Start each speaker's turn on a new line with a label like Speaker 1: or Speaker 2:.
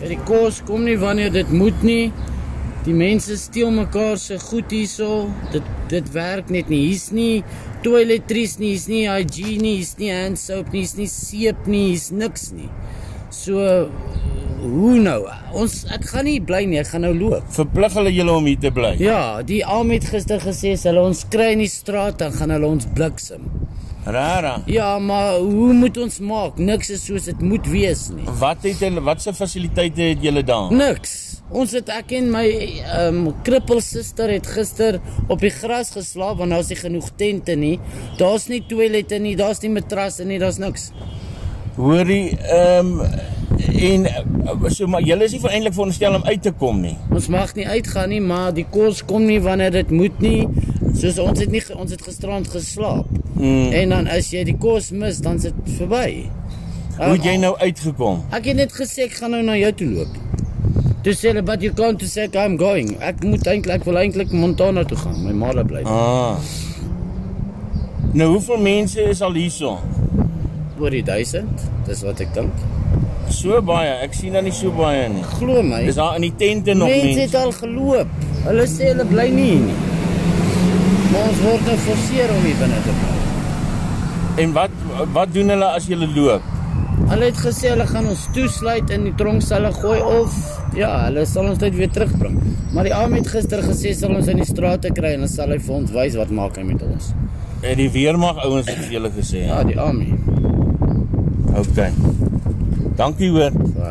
Speaker 1: Die kos kom nie wanneer dit moet nie. Die mense steel mekaar se goed hierso. Dit dit werk net nie. Hier's nie toiletries nie, hier's nie hygiene nie, hier's nie hand soap nie, hier's nie seep nie, hier's niks nie. So hoe nou? Ons ek gaan nie bly nie, ek gaan nou loop.
Speaker 2: Verplig hulle julle om hier te bly.
Speaker 1: Ja, die Alm het gister gesê as hulle ons kry in die straat dan gaan hulle ons bliksem.
Speaker 2: Rara.
Speaker 1: Ja, maar hoe moet ons maak? Niks is soos dit moet wees nie.
Speaker 2: Wat het hulle watse fasiliteite het julle daar?
Speaker 1: Niks. Ons het ek en my ehm um, krippelsuster het gister op die gras geslaap want daar's nie genoeg tente nie. Daar's nie toilette nie, daar's nie matrasse nie, daar's niks.
Speaker 2: Hoorie, ehm en eh, so maar julle is nie eintlik veronderstel om uit te kom nie.
Speaker 1: Ons mag nie uitgaan nie, maar die kos kom nie wanneer dit moet nie. Soos ons het nie ge- ons het gisterand geslaap. Mm. En dan as jy die kos mis, dan sit verby. Ehm,
Speaker 2: Hoe het jy nou uitgekom?
Speaker 1: Ek het net gesê ek gaan nou na jou toe loop. Toe sê hulle but you can't to say I'm going. Ek moet eintlik ek wil eintlik Montana toe gaan. My ma bly.
Speaker 2: Ah. Nou hoeveel mense is al hierso?
Speaker 1: oor die 1000. Dis wat ek dink.
Speaker 2: So baie. Ek sien daar nie so baie nie.
Speaker 1: Glo my.
Speaker 2: Is daar in die tente nog
Speaker 1: Mense
Speaker 2: mense?
Speaker 1: het al geloop. Hulle sê hulle bly nie hier nie. Maar ons word nou geforseer om hier binne te bly.
Speaker 2: En wat wat doen hulle as julle loop?
Speaker 1: Hulle het gesê hulle gaan ons toesluit in die tronkselle gooi of ja, hulle sal ons net weer terugbring. Maar die oom het gister gesê sal ons in die strate kry en dan sal hy vir ons wys wat maak hy met ons.
Speaker 2: Het Eh, die weermag ouens het vir julle gesê.
Speaker 1: Ja, die oom.
Speaker 2: OK. Dankie hoor.
Speaker 1: Ja.